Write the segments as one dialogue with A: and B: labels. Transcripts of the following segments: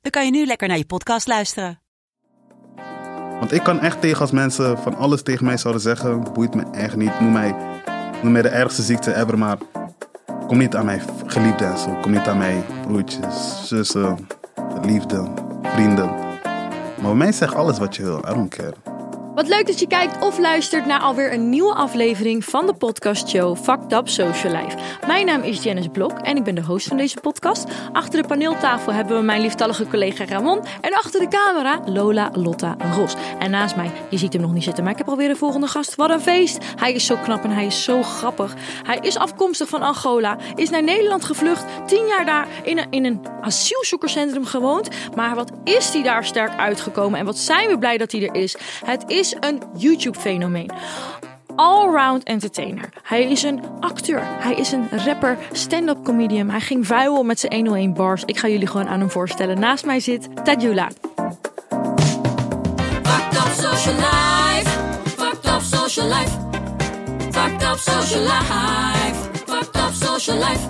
A: dan kan je nu lekker naar je podcast luisteren.
B: Want ik kan echt tegen als mensen van alles tegen mij zouden zeggen, boeit me echt niet. Noem mij, noem mij de ergste ziekte ever, maar kom niet aan mijn geliefden en zo. Kom niet aan mijn broertjes, zussen, liefde, vrienden. Maar bij mij zeg alles wat je wil, I don't care.
C: Wat leuk dat je kijkt of luistert naar alweer een nieuwe aflevering van de podcastshow Fucked Up Social Life. Mijn naam is Janice Blok en ik ben de host van deze podcast. Achter de paneeltafel hebben we mijn lieftallige collega Ramon en achter de camera Lola Lotta Ros. En naast mij, je ziet hem nog niet zitten, maar ik heb alweer een volgende gast. Wat een feest! Hij is zo knap en hij is zo grappig. Hij is afkomstig van Angola, is naar Nederland gevlucht, tien jaar daar in een, in een asielzoekerscentrum gewoond. Maar wat is hij daar sterk uitgekomen en wat zijn we blij dat hij er is? Het is een YouTube-fenomeen. Allround entertainer. Hij is een acteur. Hij is een rapper, stand-up comedian. Hij ging vuil met zijn 101 bars. Ik ga jullie gewoon aan hem voorstellen. Naast mij zit Tadjula.
D: Fucked up social life. Fucked up social life. Fucked up social life. Fucked up social life.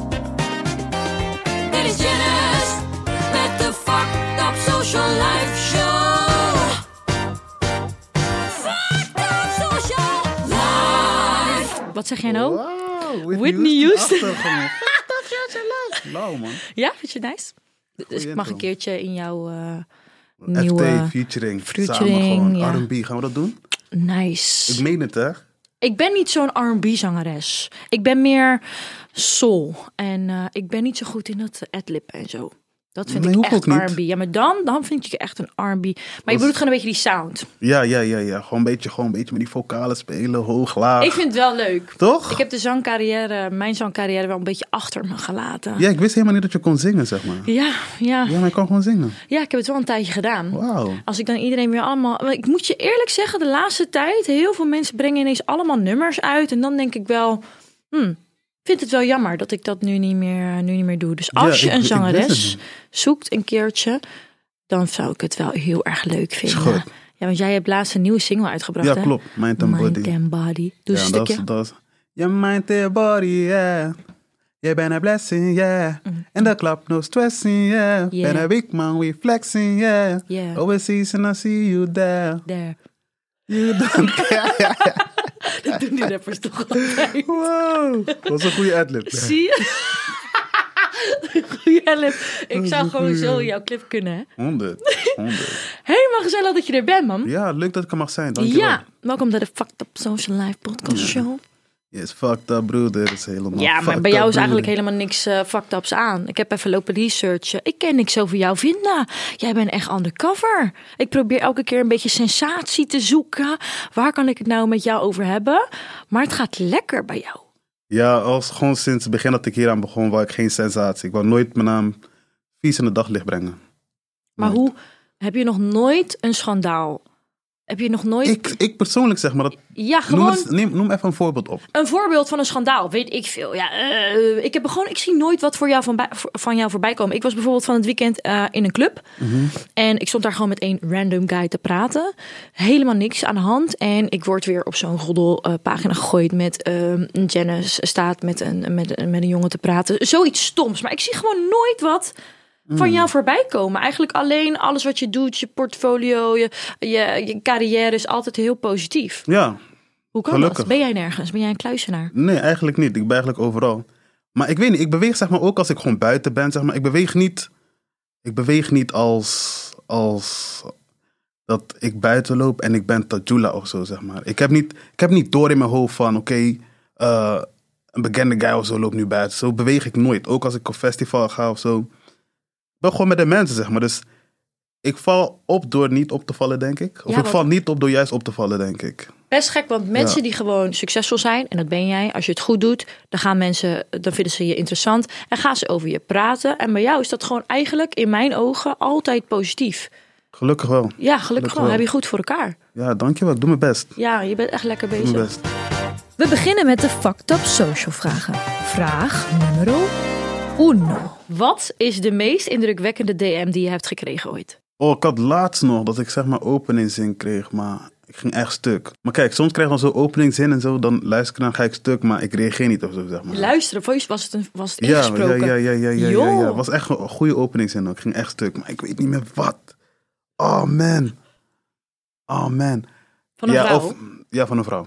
D: Dit is Janice met de Fucked up social life show. Fucked up social life.
C: Wat zeg jij nou?
B: Wow,
C: Whitney Houston.
B: Lauw man.
C: Ja, vind je het nice? Dus ik mag
B: intro.
C: een keertje in jouw eh, nieuwe...
B: FT, featuring, samen
C: featuring,
B: gewoon.
C: ja.
B: R&B, gaan we dat doen?
C: Nice.
B: Ik meen het hè.
C: Ik ben niet zo'n R&B-zangeres. Ik ben meer soul. En eh, ik ben niet zo goed in dat eh, adlib en zo. Dat vind
B: Nee,
C: ik
B: hoeft ook
C: echt
B: niet.
C: R&B. Ja, maar dan, dan vind ik je echt een R&B. Maar je bedoelt gewoon een beetje die sound.
B: Ja, ja, ja, ja. Gewoon een beetje, gewoon een beetje met die vocalen spelen, hoog, laag.
C: Ik vind het wel leuk.
B: Toch?
C: Ik heb de zangcarrière, mijn zangcarrière wel een beetje achter me gelaten.
B: Ja, ik wist helemaal niet dat je kon zingen, zeg maar.
C: Ja, ja,
B: Ja, maar ik kan gewoon zingen.
C: ja, ik heb het wel een tijdje gedaan.
B: Wauw.
C: Als ik dan iedereen weer allemaal. maar Ik moet je eerlijk zeggen, de laatste tijd. Heel veel mensen brengen ineens allemaal nummers uit. En dan denk ik wel. Hmm, vind het wel jammer dat ik dat nu niet meer, nu niet meer doe. Dus als
B: Ja,
C: je
B: ik-
C: een
B: ik wist
C: zangeres
B: het niet.
C: zoekt een keertje. dan zou ik het wel heel erg leuk vinden.
B: goed.
C: Ja, want jij hebt laatst een nieuwe single uitgebracht.
B: Ja,
C: hè?
B: klopt. Mind and
C: Mind
B: body.
C: and Body. Doe
B: ja,
C: eens een
B: dat is,
C: stukje.
B: dat is- Je mind and body, yeah. Je bent een blessing, yeah. In the club, no stressing, yeah.
C: Mhm. Yeah.
B: Ben a big man, we flexing, yeah.
C: Yeah.
B: Overseas and I see you there.
C: Daar.
B: You don't care.
C: Dat doen die rappers toch altijd.
B: wow. Dat was een goede adlib.
C: Zie je? Goeie clip. Ik zou gewoon zo in jouw clip kunnen. hè?
B: 100. 100.
C: Helemaal gezellig dat je er bent, man.
B: Ja, leuk dat ik er mag zijn. Dankjewel.
C: Ja, welkom bij de Fucked Up Social Life podcast show.
B: Yes, fucked up, broeder. Dat is helemaal
C: Ja, maar
B: fucked
C: bij jou
B: up,
C: is eigenlijk
B: broeder.
C: helemaal niks eh fucked ups aan. Ik heb even lopen researchen. Ik ken niks over jou vinden. Jij bent echt undercover. Ik probeer elke keer een beetje sensatie te zoeken. Waar kan ik het nou met jou over hebben? Maar het gaat lekker bij jou.
B: Ja, als gewoon sinds het begin dat ik hier aan begon, wou ik geen sensatie. Ik wou nooit mijn naam vies in het daglicht brengen.
C: Maar
B: Nooit.
C: hoe heb je nog nooit een schandaal? Heb je nog nooit.
B: Ik, ik persoonlijk zeg maar, dat,
C: ja,
B: noem,
C: gewoon.
B: eens- neem, noem even een voorbeeld op.
C: Een voorbeeld van een schandaal, weet ik veel. Ja, eh, ik heb er gewoon, ik zie nooit wat voor jou van, bij- voor- van jou voorbij komen. Ik was bijvoorbeeld van het weekend eh, in een club en ik stond daar gewoon met één random guy te praten. Helemaal niks aan de hand en ik word weer op zo'n roddelpagina gegooid met ehm Janice staat met een, met, een- met een jongen te praten. Zoiets stoms, maar ik zie gewoon nooit wat van jou voorbij komen. Eigenlijk alleen alles wat je doet, je portfolio, je, je, je carrière is altijd heel positief.
B: Ja,
C: Hoe kan dat?
B: Gelukkig.
C: Ben jij nergens? Ben jij een kluisenaar?
B: nee, eigenlijk niet. Ik ben eigenlijk overal. Maar ik weet niet, ik beweeg zeg maar ook als ik gewoon buiten ben, zeg maar. Ik beweeg niet, ik beweeg niet als, als dat ik buiten loop en ik ben Tajula of zo, zeg maar. Ik heb niet, ik heb niet door in mijn hoofd van, oké, eh, een bekende guy of zo loopt nu buiten. Zo beweeg ik nooit. Ook als ik op festival ga of zo. Ik ben gewoon met de mensen, zeg maar. Dus Ik val op door niet op te vallen, denk ik. Of
C: Ja,
B: ik
C: want-
B: val niet op door juist op te vallen, denk ik.
C: Best gek, want mensen
B: Ja.
C: die gewoon succesvol zijn, en dat ben jij, als je het goed doet, dan gaan mensen, dan vinden ze je interessant en gaan ze over je praten. En bij jou is dat gewoon eigenlijk in mijn ogen altijd positief.
B: Gelukkig wel.
C: Ja, gelukkig wel.
B: wel.
C: Heb je goed voor elkaar.
B: Ja, dankjewel. Ik doe mijn best. Ik
C: Ja, je bent echt lekker
B: doe
C: bezig.
B: mijn best.
C: We beginnen met de Fucked Up Social vragen. Vraag nummer uno. Wat is de meest indrukwekkende DM die je hebt gekregen ooit?
B: Oh, ik had laatst nog dat ik zeg maar openingzin kreeg, maar ik ging echt stuk. Maar kijk, soms krijg ik dan zo'n openingzin en zo, dan luister ik naar, ga ik stuk, maar ik reageer niet of zo, zeg maar.
C: Luisteren, voice was het, een, was het
B: ja, ja,
C: ingesproken?
B: ja, ja, ja, ja, ja,
C: Joh.
B: ja. was echt een goede openingzin ook. Ik ging echt stuk, maar ik weet niet meer wat. Oh man. Oh man.
C: Van een
B: ja,
C: vrouw?
B: Of, ja, van een vrouw.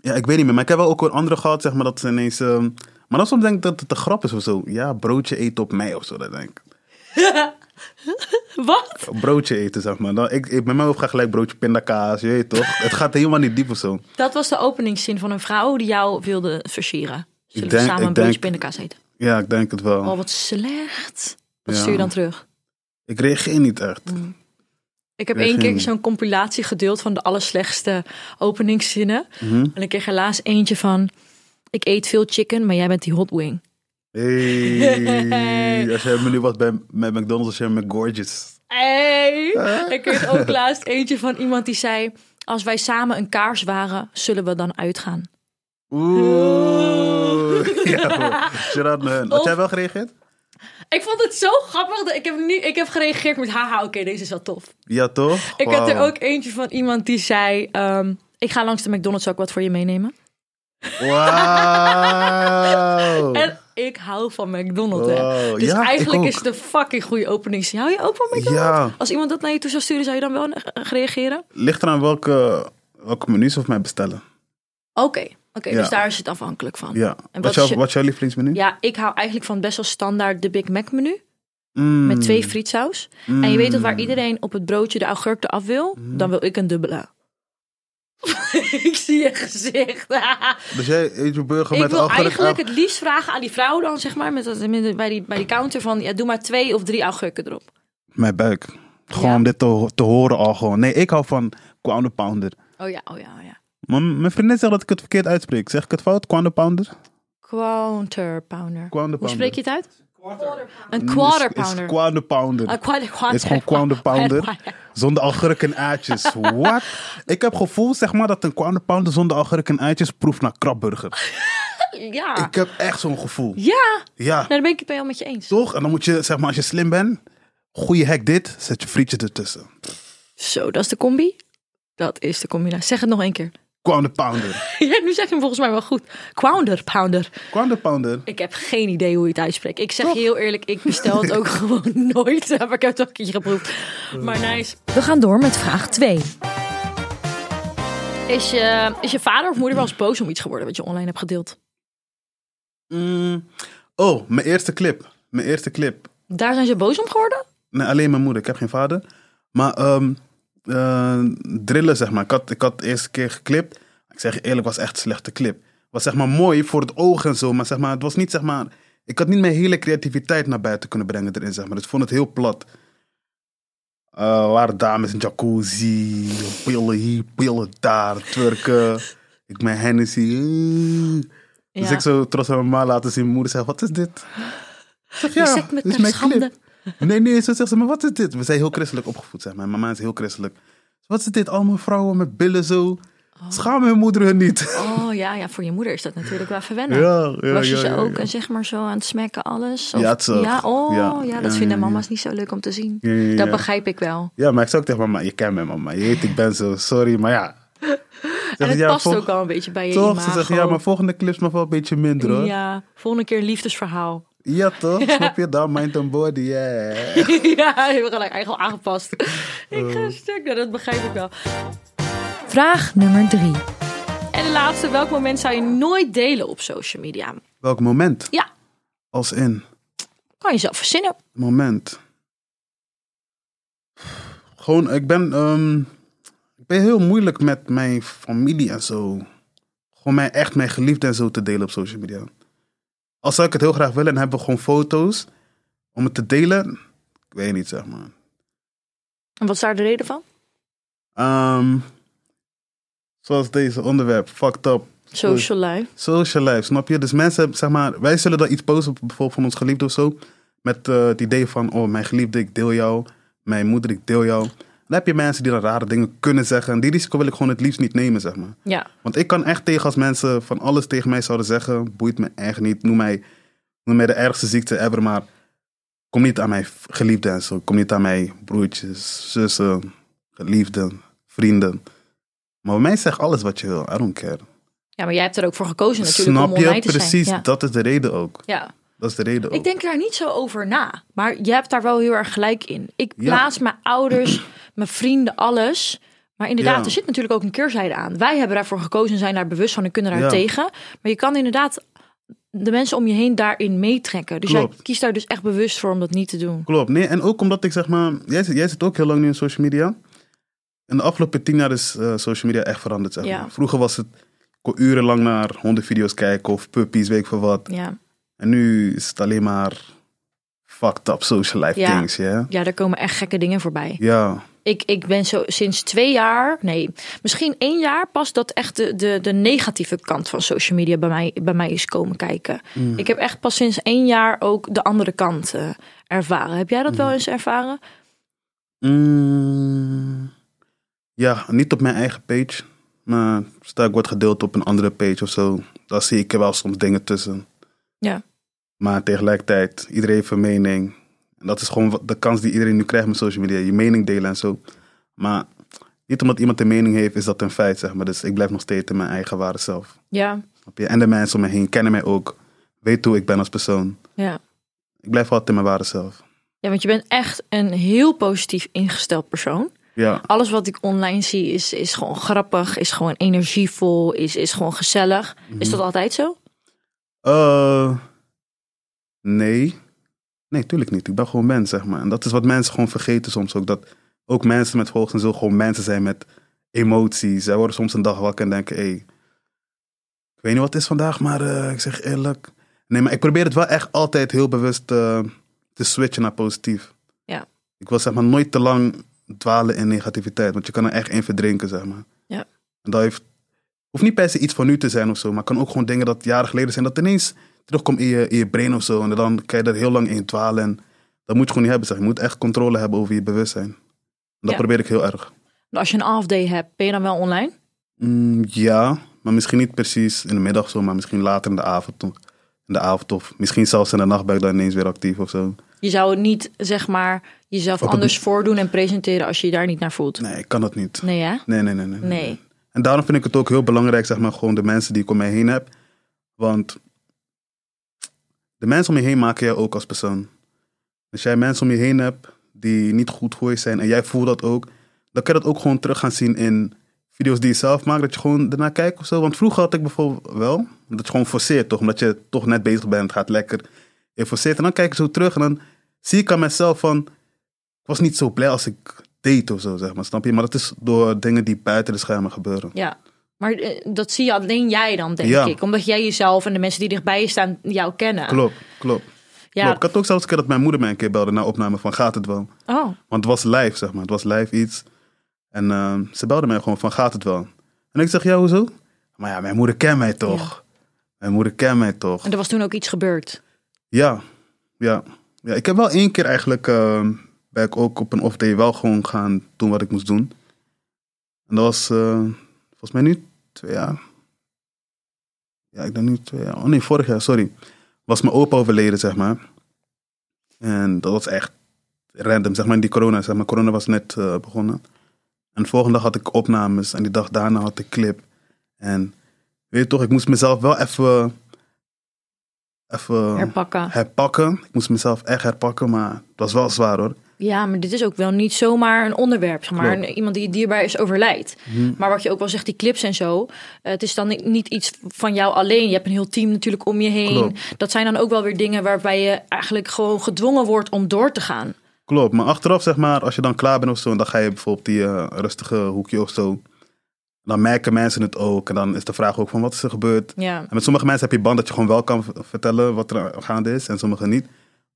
B: Ja, ik weet niet meer. Maar ik heb wel ook een andere gehad, zeg maar, dat ze ineens... ehm, maar dan soms denk ik dat het een grap is of zo. Ja, broodje eten op mij of zo, dat denk ik.
C: Wat?
B: broodje eten, zeg maar. Dan, ik, ik, met mij hoofd gaat gelijk broodje pindakaas, je weet toch? Het gaat helemaal niet diep of zo.
C: Dat was de openingszin van een vrouw die jou wilde versieren. Zullen we
B: denk-
C: samen
B: ik
C: een broodje
B: denk-
C: pindakaas eten?
B: Ja, ik denk het wel.
C: Oh, wat slecht. Wat
B: Ja.
C: stuur je dan terug?
B: Ik reageer niet echt.
C: Ik heb
B: Ja,
C: één keer
B: geen-
C: zo'n compilatie gedeeld van de allerslechtste openingszinnen.
B: Mhm.
C: En ik kreeg helaas eentje van... Ik eet veel chicken, maar jij bent die hot wing.
B: Hey, als jij me nu was bij, met McDonald's, als jij McGorgeous.
C: Hey! Ik kreeg ook laatst eentje van iemand die zei... Als wij samen een kaars waren, zullen we dan uitgaan?
B: Oeh. Ja, hoor. Shout-out naar hun. Had jij wel gereageerd?
C: Ik vond het zo grappig. Dat ik, heb nu, ik heb gereageerd met... Haha, oké, deze is wel tof.
B: Ja, toch?
C: Ik had er
B: Wauw.
C: ook eentje van iemand die zei... ehm, ik ga langs de McDonald's ook wat voor je meenemen.
B: Wauw.
C: En ik hou van McDonald's. Hè.
B: Wow,
C: Dus
B: Oh. ja, ik
C: eigenlijk
B: ook.
C: is het een fucking goede opening. Hou je ook van McDonald's?
B: Ja,
C: Als iemand dat naar je toe zou sturen, zou je dan wel eh, reageren?
B: ligt eraan welke, welke menu's of mij bestellen.
C: Oké, oké.
B: Ja.
C: Dus daar is het afhankelijk van.
B: Ja.
C: En
B: Wat,
C: wat
B: is
C: is
B: jouw,
C: je-
B: wat is jouw lievelingsmenu?
C: Ja, ik hou eigenlijk van best wel standaard de Big Mac menu.
B: Mm.
C: Met twee frietsaus. En je weet dat
B: Hmm.
C: waar iedereen op het broodje de augurk eraf wil, dan wil ik een dubbele. ik zie je gezicht.
B: Dus jij eet je burger
C: ik
B: met
C: wil
B: augurk
C: eigenlijk
B: af-
C: het liefst vragen aan die vrouw dan, zeg maar, met, dat- met de- bij, die, bij die counter van, ja, doe maar twee of drie augurken erop.
B: Mijn buik. Gewoon
C: Ja.
B: om dit te, ho- te horen al gewoon. Nee, ik hou van Quander Pounder.
C: Oh ja, oh ja, oh ja.
B: Maar m- mijn vriendin zegt dat ik het verkeerd uitspreek. Zeg ik het fout? Quander Pounder?
C: Quarter pounder.
B: Quarter
C: Hoe
B: pounder.
C: spreek je het uit? Een
B: Is-
C: quarter
B: is
C: pounder. Ah,
B: Quander Pounder.
C: Een quarter pounder.
B: Het is gewoon Quander Pounder. Zonder augurk en aardjes. Wat? Ik heb gevoel zeg maar dat een Quander Pounder zonder augurk en aardjes proeft naar krabburger.
C: Ja.
B: Ik heb echt zo'n gevoel.
C: Ja,
B: Ja,
C: nou, daar ben ik het bij jou met je eens.
B: toch? En dan moet je zeg maar als je slim bent. Goeie hack dit. Zet je frietje ertussen.
C: Zo, dat is de combi. Dat is de combinatie. Zeg het nog één keer.
B: Quander Pounder.
C: Ja, nu zeg je hem volgens mij wel goed. Quounder, pounder.
B: Quander Pounder.
C: Ik heb geen idee hoe je het uitspreekt. Ik zeg je heel eerlijk, ik bestel het ook gewoon nooit. Maar ik heb het wel een keertje geproefd.
B: Eh.
C: Maar nice.
E: We gaan door met vraag 2.
C: Is je, is je vader of moeder wel eens boos om iets geworden wat je online hebt gedeeld?
B: Mm. Oh, mijn eerste clip. Mijn eerste clip.
C: Daar zijn ze boos om geworden?
B: Nee, alleen mijn moeder. Ik heb geen vader. Maar ehm, eh, drillen, zeg maar. Ik had, ik had de eerste keer geklipt. Ik zeg je eerlijk, was echt een slechte clip. Was zeg maar mooi voor het oog en zo. Maar zeg maar, het was niet zeg maar... Ik had niet mijn hele creativiteit naar buiten kunnen brengen erin, zeg maar. Dus ik vond het heel plat. Eh waren dames in jacuzzi. Pillen hier, pillen daar. Twerken. ik mijn Hennessy. eh. Dus
C: Ja.
B: ik zo trots aan mijn ma laten zien. Mijn moeder zegt, wat is dit? Ik zeg, ja,
C: zet me
B: dit is
C: ter
B: mijn
C: schande.
B: clip. Nee, nee, zo zegt ze, maar wat is dit? We zijn heel christelijk opgevoed, zeg maar. Mijn mama is heel christelijk. Wat is dit? Allemaal vrouwen met billen zo. Schaam hun moeder hun niet.
C: Oh ja, ja, voor je moeder is dat natuurlijk wel verwennen.
B: Ja, ja,
C: Was je
B: ja,
C: ze
B: ja,
C: ook
B: ja.
C: eh, zeg maar zo aan het smekken alles? Of-
B: Ja, het is, eh,
C: ja, oh, ja,
B: ja,
C: dat
B: ja,
C: vinden
B: ja, ja.
C: mama's niet zo leuk om te zien.
B: Ja, ja, ja.
C: Dat begrijp ik wel.
B: Ja, maar ik zei ook tegen mama, je kent mijn mama. Je weet, ik ben zo, sorry, maar ja.
C: En het
B: ja,
C: past
B: vol-
C: ook al een beetje bij je
B: Toch?
C: imago.
B: Ze zegt, ja, maar volgende clips mag wel een beetje minder, hoor. Ja,
C: Ja, volgende keer een liefdesverhaal.
B: toch? Snap je? Daar, mind and body, yeah.
C: ja, je hebt gelijk eigenlijk al aangepast.
B: Oh.
C: Ik ga stuk, nou, dat begrijp ik wel.
E: Vraag nummer 3.
C: En de laatste, welk moment zou je nooit delen op social media?
B: Welk moment?
C: Ja,
B: Als in...
C: kan je zelf verzinnen.
B: moment. Gewoon, ik ben, ehm, ik ben heel moeilijk met mijn familie en zo. Gewoon mijn, echt mijn geliefde en zo te delen op social media. Al zou ik het heel graag willen en hebben we gewoon foto's om het te delen. Ik weet niet, zeg maar.
C: En wat is daar de reden van?
B: Ehm, zoals deze onderwerp, fucked up.
C: Social life.
B: Social life, snap je? Dus mensen, hebben, zeg maar, wij zullen dan iets posten, bijvoorbeeld van ons geliefde of zo. Met eh, het idee van, oh, mijn geliefde, ik deel jou. Mijn moeder, ik deel jou. Dan heb je mensen die dan rare dingen kunnen zeggen. En die risico wil ik gewoon het liefst niet nemen, zeg maar.
C: Ja.
B: Want ik kan echt tegen als mensen van alles tegen mij zouden zeggen. Boeit me echt niet. Noem mij, noem mij de ergste ziekte ever, maar kom niet aan mijn geliefden en zo. Kom niet aan mijn broertjes, zussen, geliefden, vrienden. Maar bij mij zeg alles wat je wil. I don't care.
C: ja, maar jij hebt er ook voor gekozen natuurlijk om
B: Snap je?
C: online te
B: Precies,
C: zijn. Ja.
B: dat is de reden ook.
C: ja.
B: Dat is de reden ook.
C: Ik denk daar niet zo over na. Maar je hebt daar wel heel erg gelijk in. Ik
B: Ja.
C: plaats mijn ouders, mijn vrienden, alles. Maar inderdaad,
B: Ja.
C: er zit natuurlijk ook een keerzijde aan. Wij hebben daarvoor gekozen en zijn daar bewust van en kunnen daar
B: Ja.
C: tegen. Maar je kan inderdaad de mensen om je heen daarin meetrekken. Dus
B: Klopt.
C: jij kiest daar dus echt bewust voor om dat niet te doen.
B: Klopt. Nee, en ook omdat ik zeg maar, jij, zit- jij zit ook heel lang nu in social media. In de afgelopen tien jaar is eh, social media echt veranderd. Zeg maar.
C: Ja.
B: Vroeger was het ik kon urenlang naar hondenvideo's kijken of puppies, weet ik veel wat.
C: Ja,
B: En nu is het alleen maar fucked up social life
C: Ja.
B: things, ja.
C: ja daar komen echt gekke dingen voorbij.
B: Ja,
C: Ik, ik ben zo sinds twee jaar, nee, misschien één jaar pas dat echt de, de, de negatieve kant van social media bij mij, bij mij is komen kijken. Ik heb echt pas sinds één jaar ook de andere kant eh, ervaren. Heb jij dat wel eens ervaren?
B: Mm, ja, niet op mijn eigen page. Maar stel ik wordt gedeeld op een andere page of zo. Dan zie ik er wel soms dingen tussen.
C: Ja.
B: Maar tegelijkertijd, iedereen heeft een mening. En dat is gewoon wat- de kans die iedereen nu krijgt met social media. Je mening delen en zo. Maar niet omdat iemand een mening heeft, is dat een feit, zeg maar. Dus ik blijf nog steeds in mijn eigen ware zelf.
C: Ja,
B: Snap je? En de mensen om me heen kennen mij ook. Weet hoe ik ben als persoon.
C: ja.
B: Ik blijf altijd in mijn ware zelf.
C: Ja, want je bent echt een heel positief ingesteld persoon.
B: Ja.
C: Alles wat ik online zie is, is gewoon grappig, is gewoon energievol, is, is gewoon gezellig. Is dat altijd zo?
B: Eh, nee. Nee, tuurlijk niet. Ik ben gewoon mens, zeg maar. En dat is wat mensen gewoon vergeten soms ook. Dat ook mensen met volgens en zo gewoon mensen zijn met emoties. Zij worden soms een dag wakker en denken, hé, hey, ik weet niet wat het is vandaag, maar eh, ik zeg eerlijk. Nee, maar ik probeer het wel echt altijd heel bewust eh, te switchen naar positief.
C: Ja.
B: Ik wil zeg maar nooit te lang dwalen in negativiteit, want je kan er echt in verdrinken, zeg maar.
C: Ja.
B: En dat heeft, hoeft niet per se iets van nu te zijn of zo, maar kan ook gewoon dingen dat jaren geleden zijn, dat ineens terugkomt in je, in je brain of zo. En dan kan je er heel lang in dwalen. En dat moet je gewoon niet hebben, zeg. Je moet echt controle hebben over je bewustzijn. En dat
C: Ja.
B: probeer ik heel erg.
C: Nou, Als je een half day hebt, ben je dan wel online?
B: Mm, ja, maar misschien niet precies in de middag zo, maar misschien later in de avond. of- In de avond of misschien zelfs in de nacht ben ik dan ineens weer actief of zo.
C: Je zou het niet, zeg maar, jezelf
B: Op het-
C: anders voordoen en presenteren als je je daar niet naar voelt.
B: Nee, ik kan dat niet.
C: Nee, hè?
B: Nee, nee, nee. nee, nee.
C: Nee.
B: En daarom vind ik het ook heel belangrijk, zeg maar, gewoon de mensen die ik om mij heen heb. Want de mensen om je heen maken jij ook als persoon. Als jij mensen om je heen hebt die niet goed voor je zijn en jij voelt dat ook, dan kan je dat ook gewoon terug gaan zien in video's die je zelf maakt, dat je gewoon daarna kijkt of zo. Want vroeger had ik bijvoorbeeld wel, dat je gewoon forceert toch, omdat je toch net bezig bent, gaat lekker. Je forceert en dan kijk ik zo terug en dan zie ik aan mezelf van, ik was niet zo blij als ik deed of zo, zeg maar, snap je? Maar dat is door dingen die buiten de schermen gebeuren.
C: Ja. Maar eh, dat zie je alleen jij dan, denk
B: Ja.
C: ik. Omdat jij jezelf en de mensen die dichtbij je staan jou kennen.
B: Klopt, klopt.
C: Ja.
B: klopt. Ik had ook zelfs een keer dat mijn moeder mij een keer belde na opname van, gaat het wel?
C: Oh,
B: Want het was live, zeg maar. Het was live iets. En eh, ze belde mij gewoon van, gaat het wel? En ik zeg, ja, hoezo? Maar ja, mijn moeder kent mij toch? Mijn moeder kent mij toch?
C: en er was toen ook iets gebeurd.
B: Ja, ja. ja ik heb wel één keer eigenlijk, eh, ben ik ook op een off-day wel gewoon gaan doen wat ik moest doen. En dat was, eh, volgens mij nu twee jaar. Ja, ik denk nu twee jaar. Oh nee, vorig jaar, sorry. Was mijn opa overleden, zeg maar. En dat was echt random, zeg maar, in die corona. Zeg maar, corona was net eh, begonnen. En de volgende dag had ik opnames en die dag daarna had ik clip. En weet je toch, ik moest mezelf wel even... Even
C: Herpakken.
B: herpakken. Ik moest mezelf echt herpakken, maar het was wel zwaar hoor.
C: Ja, maar dit is ook wel niet zomaar een onderwerp. Zeg maar
B: Klopt. Mhm.
C: Een- iemand die dierbaar is overlijdt. Maar wat je ook wel zegt, die clips en zo. eh, het is dan niet- niet iets van jou alleen. Je hebt een heel team natuurlijk om je heen.
B: Klopt.
C: Dat zijn dan ook wel weer dingen waarbij je eigenlijk gewoon gedwongen wordt om door te gaan.
B: Klopt, maar achteraf zeg maar, als je dan klaar bent of zo, en dan ga je bijvoorbeeld die eh, rustige hoekje of zo. Dan merken mensen het ook en dan is de vraag ook van wat is er gebeurd.
C: Ja.
B: En met sommige mensen heb je band dat je gewoon wel kan v- vertellen wat er gaande is en sommige niet.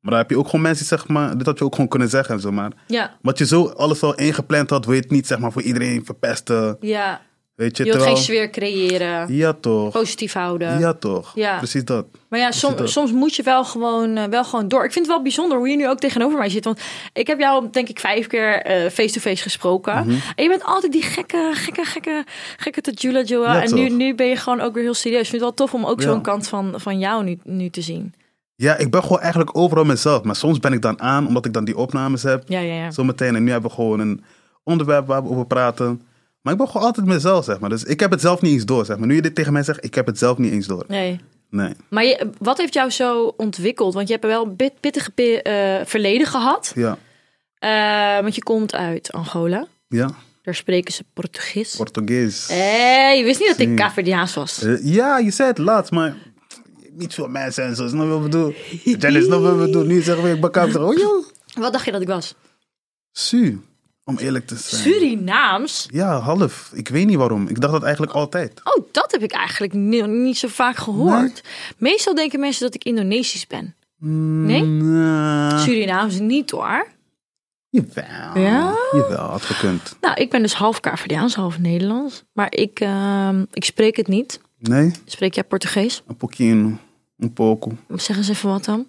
B: Maar daar heb je ook gewoon mensen die zeg maar, dit had je ook gewoon kunnen zeggen en zo. Maar
C: Ja,
B: wat je zo alles al ingepland had, wil je het niet zeg maar voor iedereen verpesten.
C: ja.
B: Weet je,
C: Je wilt
B: terwijl...
C: geen sfeer creëren.
B: Ja toch,
C: Positief houden.
B: ja toch,
C: Ja.
B: precies dat.
C: Maar ja, som-
B: het ook.
C: soms moet je wel gewoon, eh, wel gewoon door. Ik vind het wel bijzonder hoe je nu ook tegenover mij zit. Want ik heb jou, denk ik, vijf keer eh, face-to-face gesproken.
B: Mhm.
C: En je bent altijd die gekke, gekke, gekke, gekke Tajula Joa.
B: Ja,
C: en nu,
B: toch?
C: nu ben je gewoon ook weer heel serieus. Ik vind het wel tof om ook
B: Ja.
C: zo'n kant van, van jou nu, nu te zien.
B: Ja, ik ben gewoon eigenlijk overal mezelf. Maar soms ben ik dan aan, omdat ik dan die opnames heb.
C: Ja, ja, ja.
B: Zometeen. En nu hebben we gewoon een onderwerp waar we over praten. Maar ik ben gewoon altijd mezelf, zeg maar. Dus ik heb het zelf niet eens door, zeg maar. Nu je dit tegen mij zegt, ik heb het zelf niet eens door.
C: Nee.
B: Nee.
C: Maar je, wat heeft jou zo ontwikkeld? Want je hebt wel een bit- pittige pi- eh, verleden gehad.
B: Ja.
C: Eh, want je komt uit Angola.
B: Ja.
C: Daar spreken ze Portugees.
B: Portugees.
C: Hé, Eh, je wist niet dat ik
B: Zie.
C: Caverdiaans was.
B: Eh, ja, je zei het laatst, maar... Niet veel mensen en zo. Is nog wat ik bedoel. Janice, is nog wat ik bedoel. Nu zeggen we, ik ben kapter. Oh joh.
C: Wat dacht je dat ik was?
B: Su. Om eerlijk te zijn.
C: Surinaams?
B: Ja, half. Ik weet niet waarom. Ik dacht dat eigenlijk altijd.
C: Oh, dat heb ik eigenlijk ni- niet zo vaak gehoord. Meestal denken mensen dat ik Indonesisch ben. Nee?
B: Nou,
C: Surinaams niet hoor.
B: Jawel.
C: Ja?
B: Jawel, had gekund.
C: Nou, ik ben dus half Caverdiaans, half Nederlands. Maar ik, ehm, ik spreek het niet.
B: Nee?
C: Spreek jij Portugees?
B: Um pouquinho. Um pouco.
C: Zeg eens even wat dan.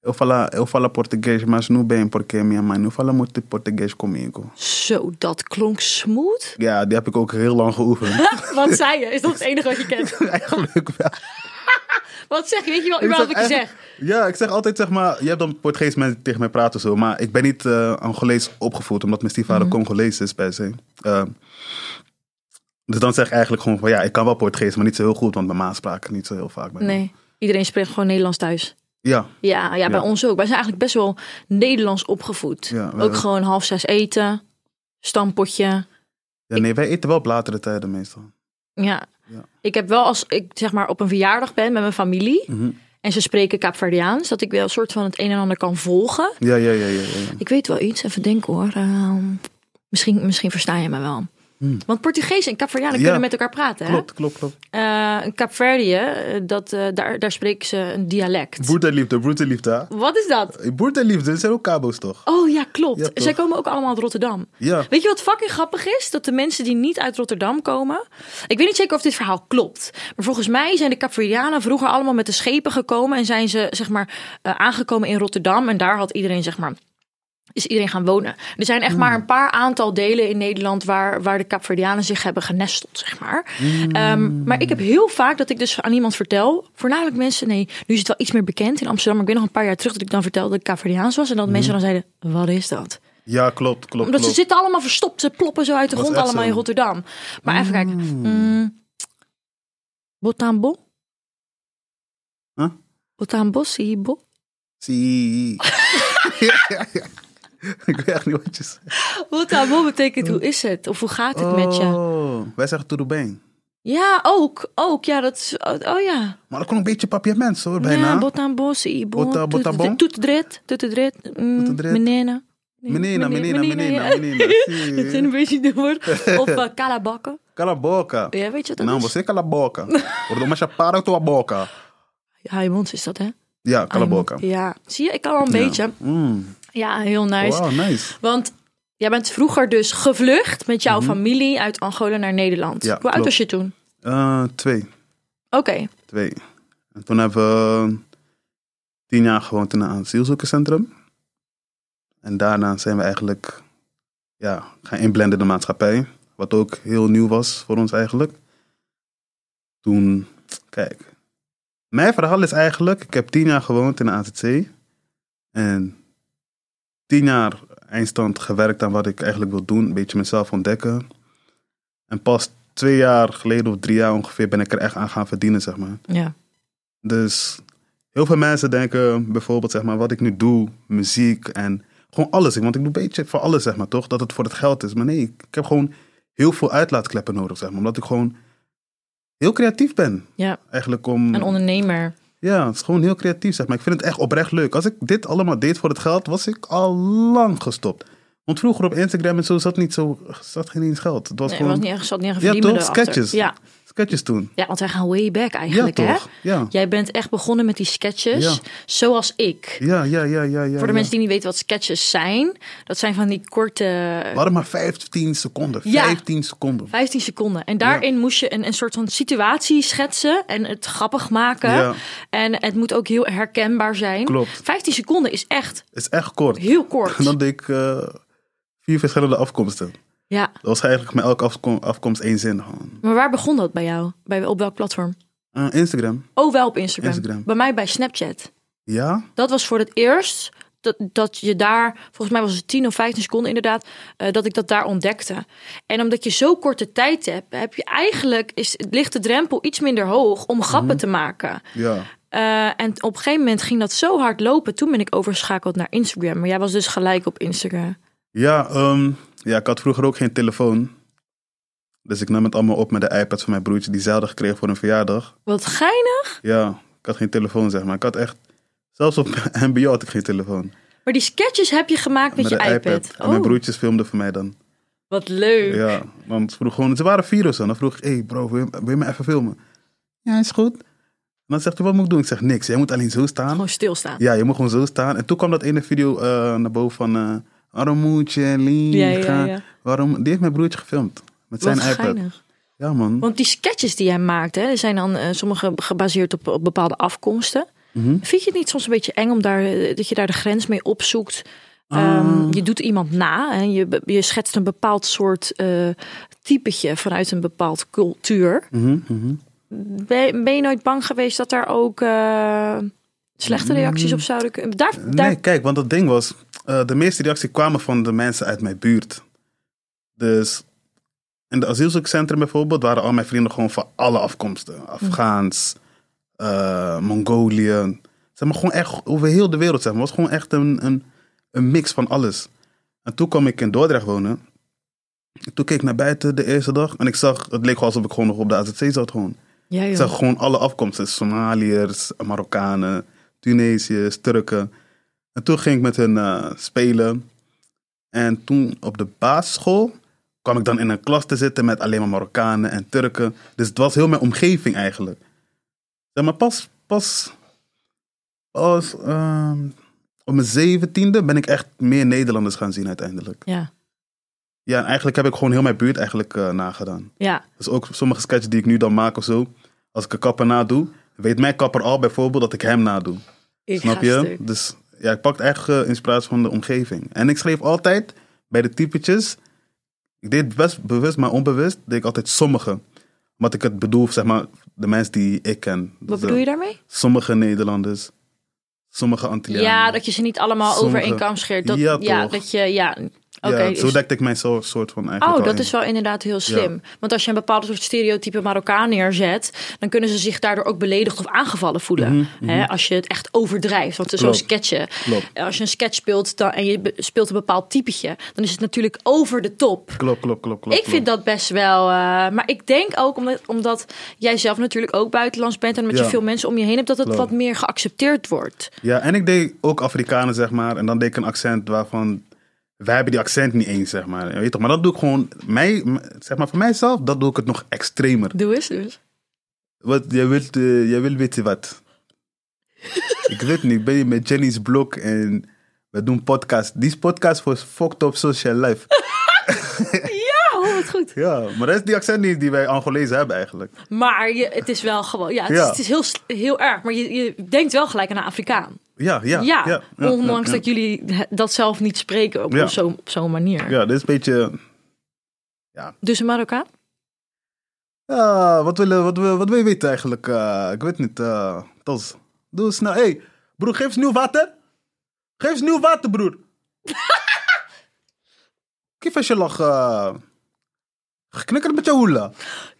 B: Eu falo, eu falo português, mas não bem, porque minha mãe não fala muito português comigo.
C: Zo, dat klonk smooth.
B: Ja, die heb ik ook heel lang geoefend.
C: Wat zei je? Is dat het enige wat je kent?
B: Eigenlijk wel.
C: Wat zeg je? Weet je wel überhaupt wat je zegt?
B: Ja, ik zeg altijd zeg maar, je hebt dan Portugees mensen die tegen mij praten of zo, maar ik ben niet eh Angolees opgevoed, omdat mijn stiefvader
C: Mhm.
B: Congolees is per se. Eh, dus dan zeg ik eigenlijk gewoon van ja, ik kan wel Portugees, maar niet zo heel goed, want mijn ma sprak het niet zo heel vaak. bij mij.
C: Nee, iedereen spreekt gewoon Nederlands thuis.
B: Ja,
C: Ja, ja, bij
B: Ja.
C: ons ook. Wij zijn eigenlijk best wel Nederlands opgevoed.
B: Ja, wij
C: ook
B: ook.
C: gewoon half zes eten, stampotje.
B: ja nee, wij eten wel bladeren tijden meestal.
C: Ja.
B: Ja.
C: Ik heb wel als ik zeg maar op een verjaardag ben met mijn familie
B: Mhm.
C: en ze spreken Kaapverdiaans, dat ik wel een soort van het een en ander kan volgen.
B: Ja, ja, ja, ja. ja, ja.
C: Ik weet wel iets, even denken hoor. Ehm, misschien, misschien versta je me wel. Want Portugees en Kaapverdianen
B: Hmm. Ja.
C: kunnen met elkaar praten. Hè?
B: Klopt, klopt, klopt.
C: Eh, een Kaapverdië, eh, dat, eh, daar, daar spreken ze een dialect.
B: Broederliefde, broederliefde. hè?
C: Wat is dat?
B: Broederliefde, dat zijn ook kabo's toch?
C: Oh ja, klopt.
B: Ja, toch?
C: Zij komen ook allemaal uit Rotterdam.
B: Ja.
C: Weet je wat fucking grappig is? Dat de mensen die niet uit Rotterdam komen. Ik weet niet zeker of dit verhaal klopt. Maar volgens mij zijn de Capverdianen vroeger allemaal met de schepen gekomen. En zijn ze zeg maar eh, aangekomen in Rotterdam. En daar had iedereen zeg maar. Is iedereen gaan wonen? Er zijn echt maar een paar aantal delen in Nederland waar, waar de Capverdianen zich hebben genesteld, zeg maar. Ehm, maar ik heb heel vaak dat ik dus aan iemand vertel, voornamelijk mensen, nee, nu is het wel iets meer bekend in Amsterdam. Maar ik weet nog een paar jaar terug dat ik dan vertelde dat ik Capverdiaans was. En dat mensen dan zeiden: Wat is dat?
B: Ja, klopt, klopt.
C: Omdat
B: klopt.
C: ze zitten allemaal verstopt. Ze ploppen zo uit de
B: Was
C: grond
B: echt
C: allemaal
B: zo.
C: in Rotterdam. Maar even kijken. Mm. Botambo?
B: Huh?
C: Botambo, Sibo?
B: Zie. Ik weet echt niet wat je zegt.
C: Oh, Botambo betekent hoe is het? Of hoe gaat het met je?
B: Oh, wij zeggen tudo bem.
C: Ja, ook. Ook, ja. Dat is, oh, oh ja.
B: Maar dat klonk een beetje papiaments hoor, bijna.
C: Ja, Botambo, Sibo.
B: Bota- Botabon?
C: Toetedret. Toetedret.
B: Toetedret.
C: Menena. Mm, Nee,
B: Menina, menina, menina,
C: ja.
B: menina.
C: Dat zijn een beetje de woord. Of eh, kalabakken.
B: Cala a boca.
C: Ja, weet je wat dat
B: Não,
C: is?
B: você cala a boca. Ordo mas para a tua boca.
C: Haimons is dat, hè?
B: Ja, cala a
C: Haimons.
B: boca.
C: Ja. Zie je, ik kan wel een beetje.
B: Mm.
C: Ja, heel nice.
B: Wow, nice.
C: Want jij bent vroeger dus gevlucht met jouw familie uit Angola naar Nederland.
B: Mhm. Ja,
C: Hoe oud
B: klopt.
C: was je toen?
B: Eh, twee.
C: Oké.
B: Twee. En toen hebben we eh, tien jaar gewoond in een asielzoekerscentrum. En daarna zijn we eigenlijk ja, gaan inblenden in de maatschappij. Wat ook heel nieuw was voor ons eigenlijk. Toen, kijk. Mijn verhaal is eigenlijk, ik heb tien jaar gewoond in de AZC. En tien jaar eindstand gewerkt aan wat ik eigenlijk wil doen. Een beetje mezelf ontdekken. En pas twee jaar geleden of drie jaar ongeveer ben ik er echt aan gaan verdienen, zeg maar.
C: Ja.
B: Dus heel veel mensen denken bijvoorbeeld, zeg maar, wat ik nu doe, muziek en gewoon alles. Want ik doe een beetje voor alles, zeg maar, toch? Dat het voor het geld is. Maar nee, ik, ik heb gewoon heel veel uitlaatkleppen nodig, zeg maar. Omdat ik gewoon heel creatief ben.
C: ja.
B: Eigenlijk om...
C: Een ondernemer.
B: Ja, het is gewoon heel creatief, zeg maar. Ik vind het echt oprecht leuk. Als ik dit allemaal deed voor het geld, was ik al lang gestopt. Want vroeger op Instagram en zo zat niet zo, zat geen eens geld. Het was
C: Nee,
B: gewoon...
C: was niet echt, zat niet echt
B: Ja,
C: verdienen
B: toch?
C: erachter.
B: Sketches.
C: Ja.
B: sketches toen.
C: Ja, want wij gaan way back eigenlijk,
B: ja,
C: hè?
B: toch? Ja.
C: Jij bent echt begonnen met die sketches,
B: Ja.
C: zoals ik.
B: Ja, ja, ja, ja. ja
C: Voor de
B: ja.
C: mensen die niet weten wat sketches zijn, dat zijn van die korte
B: We hadden maar 15 seconden.
C: Ja.
B: 15 seconden.
C: 15 seconden. En daarin moest je een, een soort van situatie schetsen en het grappig maken.
B: Ja.
C: En het moet ook heel herkenbaar zijn.
B: Klopt.
C: 15 seconden is echt
B: Het is echt kort.
C: heel
B: En
C: kort.
B: dan deed ik eh, vier verschillende afkomsten.
C: Ja.
B: Dat was eigenlijk met elke afkom- afkomst één zin. Gewoon.
C: Maar waar begon dat bij jou? Bij, op welk platform?
B: Eh, Instagram.
C: Oh, wel op Instagram.
B: Instagram.
C: Bij mij bij Snapchat.
B: Ja?
C: Dat was voor het eerst dat, dat je daar, volgens mij was het 10 of 15 seconden inderdaad, eh, dat ik dat daar ontdekte. En omdat je zo korte tijd hebt, heb je eigenlijk, is, ligt de drempel iets minder hoog om grappen
B: Mhm.
C: te maken.
B: Ja.
C: Eh, en op een gegeven moment ging dat zo hard lopen. Toen ben ik overschakeld naar Instagram. Maar jij was dus gelijk op Instagram.
B: Ja, ehm, ja, ik had vroeger ook geen telefoon. Dus ik nam het allemaal op met de iPad van mijn broertje die ze hadden gekregen voor een verjaardag.
C: Wat geinig.
B: Ja, ik had geen telefoon zeg maar. Ik had echt, zelfs op MBO had ik geen telefoon.
C: Maar die sketches heb je gemaakt met,
B: de
C: je iPad.
B: En mijn
C: Oh,
B: broertjes filmden voor mij dan.
C: wat leuk.
B: Ja, want ze vroeg gewoon, ze waren vier of zo. En dan vroeg ik, hé hey bro, wil je, wil je me even filmen? Ja, is goed. En dan zegt hij, wat moet ik doen? Ik zeg, niks. Jij moet alleen zo staan.
C: Gewoon stilstaan.
B: Ja, je moet gewoon zo staan. En toen kwam dat ene video eh, naar boven van... eh waarom moet je
C: Ja,
B: liegen?
C: ja, ja.
B: Waarom? Die heeft mijn broertje gefilmd. Met zijn
C: wat
B: iPad.
C: geinig.
B: Ja, man.
C: Want die sketches die jij maakt, hè, zijn dan eh, sommige gebaseerd op, op bepaalde afkomsten.
B: Mhm.
C: Vind je het niet soms een beetje eng om daar, eh, dat je daar de grens mee opzoekt? Ehm, je doet iemand na en je, be- je schetst een bepaald soort eh typetje vanuit een bepaald cultuur.
B: Mhm, mhm.
C: Ben, ben je nooit bang geweest dat daar ook eh, slechte reacties op zouden kunnen? Daar, daar,
B: Mm. Nee, kijk, want dat ding was... eh, de meeste reacties kwamen van de mensen uit mijn buurt. Dus... In het asielzoekcentrum bijvoorbeeld waren al mijn vrienden gewoon van alle afkomsten. Afghaans, eh, Mongolië. Zeg maar gewoon echt over heel de wereld. Zeg maar. Het was gewoon echt een, een, een mix van alles. En toen kwam ik in Dordrecht wonen. En toen keek ik naar buiten de eerste dag. En ik zag, het leek wel alsof ik gewoon nog op de AZC zat gewoon.
C: Ja, joh.
B: Ik zag gewoon alle afkomsten. Somaliërs, Marokkanen, Tunesiërs, Turken. En toen ging ik met hun eh, spelen. En toen op de basisschool kwam ik dan in een klas te zitten met alleen maar Marokkanen en Turken. Dus het was heel mijn omgeving eigenlijk. Zeg maar pas, pas, pas ehm, op mijn zeventiende ben ik echt meer Nederlanders gaan zien uiteindelijk.
C: ja,
B: Ja, en eigenlijk heb ik gewoon heel mijn buurt eigenlijk eh, nagedaan.
C: ja,
B: Dus ook sommige sketches die ik nu dan maak of zo. Als ik een kapper nadoe, weet mijn kapper al bijvoorbeeld dat ik hem nadoe.
C: ik
B: Snap
C: ga
B: je?
C: stuk.
B: Dus ja, ik pak echt eh, inspiratie van de omgeving. En ik schreef altijd bij de typetjes. Ik deed best bewust, maar onbewust, deed ik altijd sommige. Wat ik het bedoel, zeg maar, de mensen die ik ken. Dus,
C: Wat
B: eh,
C: bedoel je daarmee?
B: Sommige Nederlanders, sommige
C: Ja,
B: Antillianen.
C: dat je ze niet allemaal over
B: Sommige-
C: één kam scheert. Dat, ja,
B: Ja, toch.
C: dat je, ja, oké.
B: Ja,
C: is-
B: zo dekte ik mijn zo- soort van eigenlijk
C: Oh,
B: al
C: dat
B: in.
C: is wel inderdaad heel slim. Want als je een bepaald soort stereotype Marokkaan neerzet, dan kunnen ze zich daardoor ook beledigd of aangevallen voelen. Hè, als je het echt overdrijft. Want zo'n
B: Mhm, Klopt.
C: sketchen,
B: Klopt.
C: als je een sketch speelt dan, en je be- speelt een bepaald typetje, dan is het natuurlijk over de top.
B: Klopt, klopt, klopt, klopt.
C: ik vind dat best wel. eh, maar ik denk ook omdat, omdat jij zelf natuurlijk ook buitenlands bent en met je
B: Ja.
C: veel mensen om je heen hebt, dat het
B: Klopt.
C: wat meer geaccepteerd wordt.
B: Ja, en ik deed ook Afrikanen, zeg maar. En dan deed ik een accent waarvan... Wij hebben die accent niet eens, zeg maar. Je Weet toch? Maar dat doe ik gewoon... Mij, m- zeg maar, voor mijzelf, dat doe ik het nog extremer.
C: Doe eens, doe eens.
B: Wat, jij wilt, eh, jij wil weten wat? ik weet niet, ben je met Jenny's Blok en... We doen podcast. Die podcast was fucked up social life.
C: Ja, hoor, wat goed.
B: ja, maar dat is die accent niet die wij Angolezen hebben eigenlijk.
C: Maar je, het is wel gewoon, ja, het, Is,
B: Ja.
C: het is heel, s- heel erg. Maar je, je denkt wel gelijk aan een Afrikaan.
B: Ja, ja.
C: Ja,
B: Ja, ja, ja,
C: ondanks
B: ja.
C: dat jullie he- dat zelf niet spreken op,
B: Ja.
C: op zo'n op zo'n manier.
B: Ja, dit is een beetje...
C: Dus een Marokkaan?
B: Ja, wat wil, je- wat, wil- wat wil je weten eigenlijk? Eh, ik weet niet. eh Tos, doe snel. Hé, hey, broer, geef eens nieuw water. Geef eens nieuw water, broer. Kif als je lach. eh, geknikkerd met je hoela.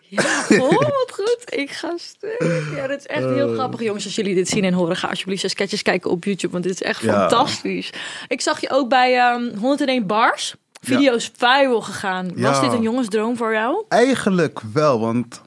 C: Ja, oh, wat goed. Ik ga stuk. Ja, dat is echt
B: Eh.
C: heel grappig, jongens. Als jullie dit zien en horen, ga alsjeblieft eens sketches kijken op YouTube. Want dit is echt
B: Ja.
C: fantastisch. Ik zag je ook bij ehm 101 Bars. Video's viral gegaan. Was
B: Ja.
C: dit een jongensdroom voor jou?
B: Eigenlijk wel, want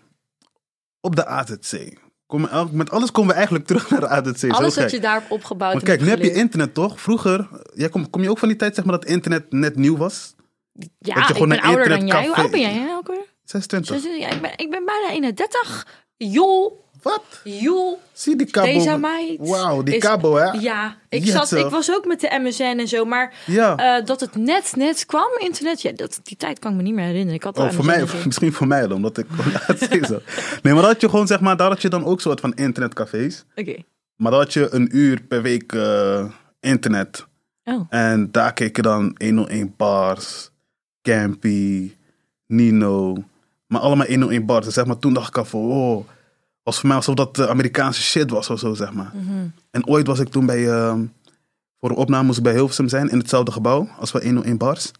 B: op de AZC. Kom, elk- met alles komen we eigenlijk terug naar de AZC. zo
C: Alles
B: gek.
C: wat je daarop opgebouwd
B: Maar
C: hebt.
B: kijk, nu heb je
C: geleerd.
B: internet toch? Vroeger, jij kom, kom je ook van die tijd zeg maar, dat internet net nieuw was?
C: Ja,
B: dat je
C: ik
B: gewoon
C: ben
B: een
C: ouder dan jij. Hoe
B: internetcafé-
C: oud ben jij? hè, Elke?
B: 26.
C: Dus, ja, ik, ben, ik ben bijna 31. Joh,
B: Wat?
C: joh.
B: Zie die cabo.
C: Deze meid.
B: Wauw, die
C: is-
B: cabo, hè?
C: Ja, ik,
B: Jeetje.
C: zat, ik was ook met de MSN en zo. Maar
B: Ja.
C: eh, dat het net, net kwam, internet. Ja, dat, die tijd kan ik me niet meer herinneren. Ik had al
B: Oh, voor
C: MSN
B: mij,
C: en zo.
B: misschien voor mij dan, omdat ik... Ja, het is zo. nee, maar dat had je gewoon, zeg maar, daar had je dan ook soort van internetcafés.
C: Oké.
B: Maar dat had je een uur per week eh, internet.
C: Oh,
B: En daar keek je dan 101 bars, Campy, Nino. Maar allemaal 101 bars. Dus zeg maar, toen dacht ik al van, oh, was voor mij alsof dat eh, Amerikaanse shit was of zo, zeg maar. En ooit was ik toen bij, ehm, voor een opname moest ik bij Hilversum zijn, in hetzelfde gebouw als bij 101 bars.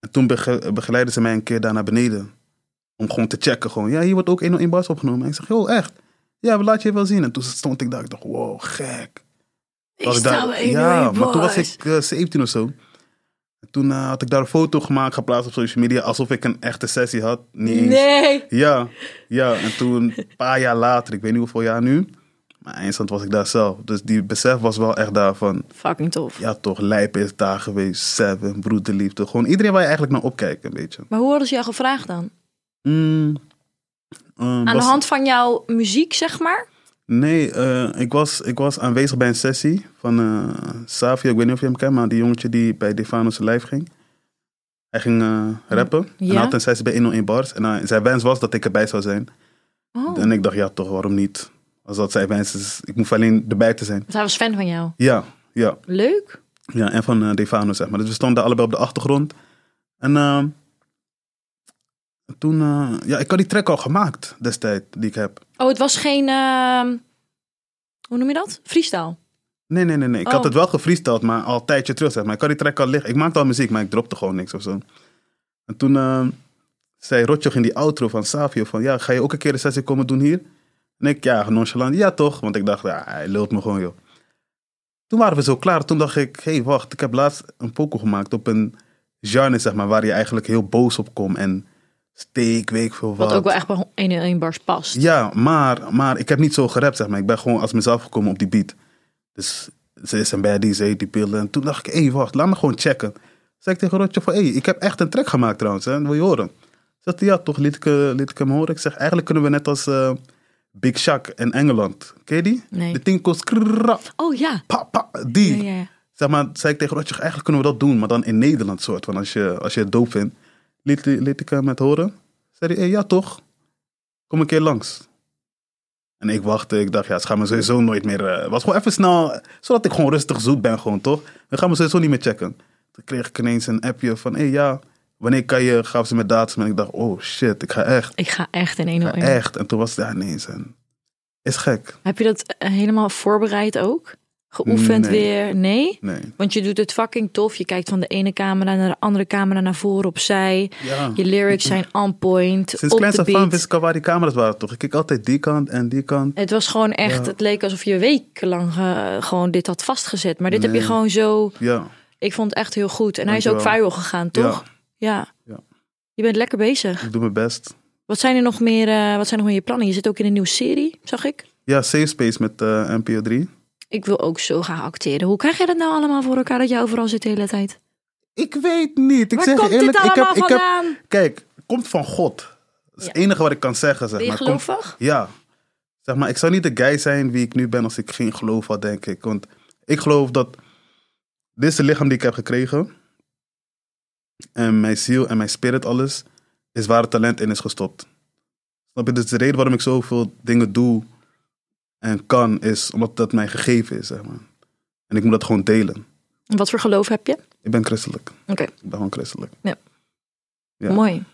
B: En toen bege- begeleidden ze mij een keer daar naar beneden. Om gewoon te checken, gewoon, ja, hier wordt ook 101 bars opgenomen. En ik zeg, joh, echt? Ja, we laten je wel zien. En toen stond ik daar, ik dacht, wow, gek.
C: ik
B: Was ik daar-
C: sta bij
B: Ja,
C: 101
B: maar toen was
C: Boys.
B: ik eh, 17 of zo. En toen eh, had ik daar een foto gemaakt, geplaatst op social media, alsof ik een echte sessie had. Niet eens.
C: Nee.
B: Ja, ja. En toen, een paar jaar later, ik weet niet hoeveel jaar nu, maar eindstand was ik daar zelf. Dus die besef was wel echt daar van,
C: Fucking tof.
B: ja toch, Lijp is daar geweest, Seven, Broederliefde. Gewoon iedereen waar je eigenlijk naar opkijkt, een beetje.
C: Maar hoe hadden ze jou gevraagd dan?
B: Mm, ehm,
C: Aan
B: was-
C: de hand van jouw muziek, zeg maar?
B: Nee, eh, ik, was, ik was aanwezig bij een sessie van eh Savio. Ik weet niet of je hem kent, maar die jongetje die bij Defano zijn lijf ging. Hij ging eh, rappen. En
C: Ja.
B: hij had een sessie bij 101 Bars. En eh, zijn wens was dat ik erbij zou zijn.
C: Oh,
B: En ik dacht, ja toch, waarom niet? Als dat zijn wens is, ik hoef alleen erbij te zijn.
C: want hij was fan van jou.
B: Ja, ja.
C: Leuk.
B: Ja, en van eh, Defano, zeg maar. Dus we stonden allebei op de achtergrond. En eh, toen... eh, ja, ik had die track al gemaakt destijds, die ik heb.
C: Oh, het was geen... ehm, hoe noem je dat? Freestyle.
B: Nee, nee, nee. nee. Ik
C: Oh.
B: had het wel gefreesteld, maar al een tijdje terug. Zeg maar. Ik had die track al liggen. Ik maakte al muziek, maar ik dropte gewoon niks of zo. En toen eh, zei Rotjoch in die outro van Savio van... Ja, ga je ook een keer een sessie komen doen hier? En ik, ja, nonchalant. Ja, toch? Want ik dacht, ja, hij lult me gewoon, joh. Toen waren we zo klaar. Toen dacht ik, hé, hey, wacht. Ik heb laatst een pokoe gemaakt op een genre, zeg maar... waar je eigenlijk heel boos op komt en steek, weet ik veel wat.
C: Wat ook wel echt bij 101 bars past.
B: Ja, maar, maar ik heb niet zo gerapt, zeg maar. Ik ben gewoon als mezelf gekomen op die beat. Dus ze is een baddie, ze heet die pillen. En toen dacht ik, hé, wacht, laat me gewoon checken. Zeg ik tegen Rotje van, hé, ik heb echt een track gemaakt trouwens, hè. wil je horen? Zegt hij, ja, toch, liet ik, eh, liet ik hem horen. Ik zeg, eigenlijk kunnen we net als eh, Big Shaq in Engeland. Ken je die?
C: Nee.
B: De tinkels, krrrra,
C: Oh ja.
B: pa, pa, die.
C: Ja, ja, ja.
B: Zeg maar, zei ik tegen Rotje, eigenlijk kunnen we dat doen, maar dan in Nederland soort. van als je, als je het dope vindt, liet, liet ik hem het horen. Zei hij, hey, ja toch, kom een keer langs. En ik wachtte, ik dacht, ja, ze gaan me sowieso nooit meer... eh, was gewoon even snel, zodat ik gewoon rustig zoet ben gewoon, toch? Dan gaan we sowieso niet meer checken. Toen kreeg ik ineens een appje van, hé, hey, ja, wanneer kan je... Gaven ze me datum en ik dacht, oh shit, ik ga echt,
C: Ik ga echt in
B: ik
C: 101.
B: ga echt. En toen was het, ja, ineens en... Is gek.
C: Heb je dat eh, helemaal voorbereid ook? Geoefend
B: Nee.
C: weer? Nee?
B: Nee.
C: Want je doet het fucking tof. Je kijkt van de ene camera naar de andere camera naar voren opzij.
B: Ja.
C: Je lyrics zijn on point.
B: Sinds
C: op
B: kleins
C: de
B: af aan wist
C: beat.
B: ik al waar die camera's waren, toch? Ik keek altijd die kant en die kant.
C: Het was gewoon echt,
B: Ja.
C: het leek alsof je wekenlang eh, gewoon dit had vastgezet. Maar dit heb je
B: Nee.
C: gewoon zo,
B: Ja.
C: ik vond het echt heel goed. En hij is ook
B: Dankjewel.
C: viral gegaan, toch? Ja.
B: Ja.
C: Je bent lekker bezig.
B: Ik doe mijn best.
C: Wat zijn er nog meer, eh, wat zijn nog meer je plannen? Je zit ook in een nieuwe serie, zag ik.
B: Ja, Safe Space met eh, NPO 3.
C: Ik wil ook zo gaan acteren. Hoe krijg je dat nou allemaal voor elkaar dat jij overal zit de hele tijd?
B: Ik weet niet. Ik
C: Waar
B: zeg je
C: komt dit
B: eerlijk, ik heb,
C: allemaal
B: ik heb,
C: vandaan?
B: kijk, het komt van God. Dat is het enige wat ik kan zeggen. Zeg
C: Ben je
B: maar. Komt-
C: gelovig?
B: ja. Zeg maar, ik zou niet de guy zijn wie ik nu ben als ik geen geloof had, denk ik. Want ik geloof dat dit is het lichaam die ik heb gekregen. En mijn ziel en mijn spirit, alles, is waar het talent in is gestopt. Snap je? Dus de reden waarom ik zoveel dingen doe en kan, is omdat dat mij gegeven is, zeg maar. En ik moet dat gewoon delen.
C: Wat voor geloof heb je? Oké,
B: Ik ben christelijk. Ik ben gewoon christelijk. Ja.
C: mooi.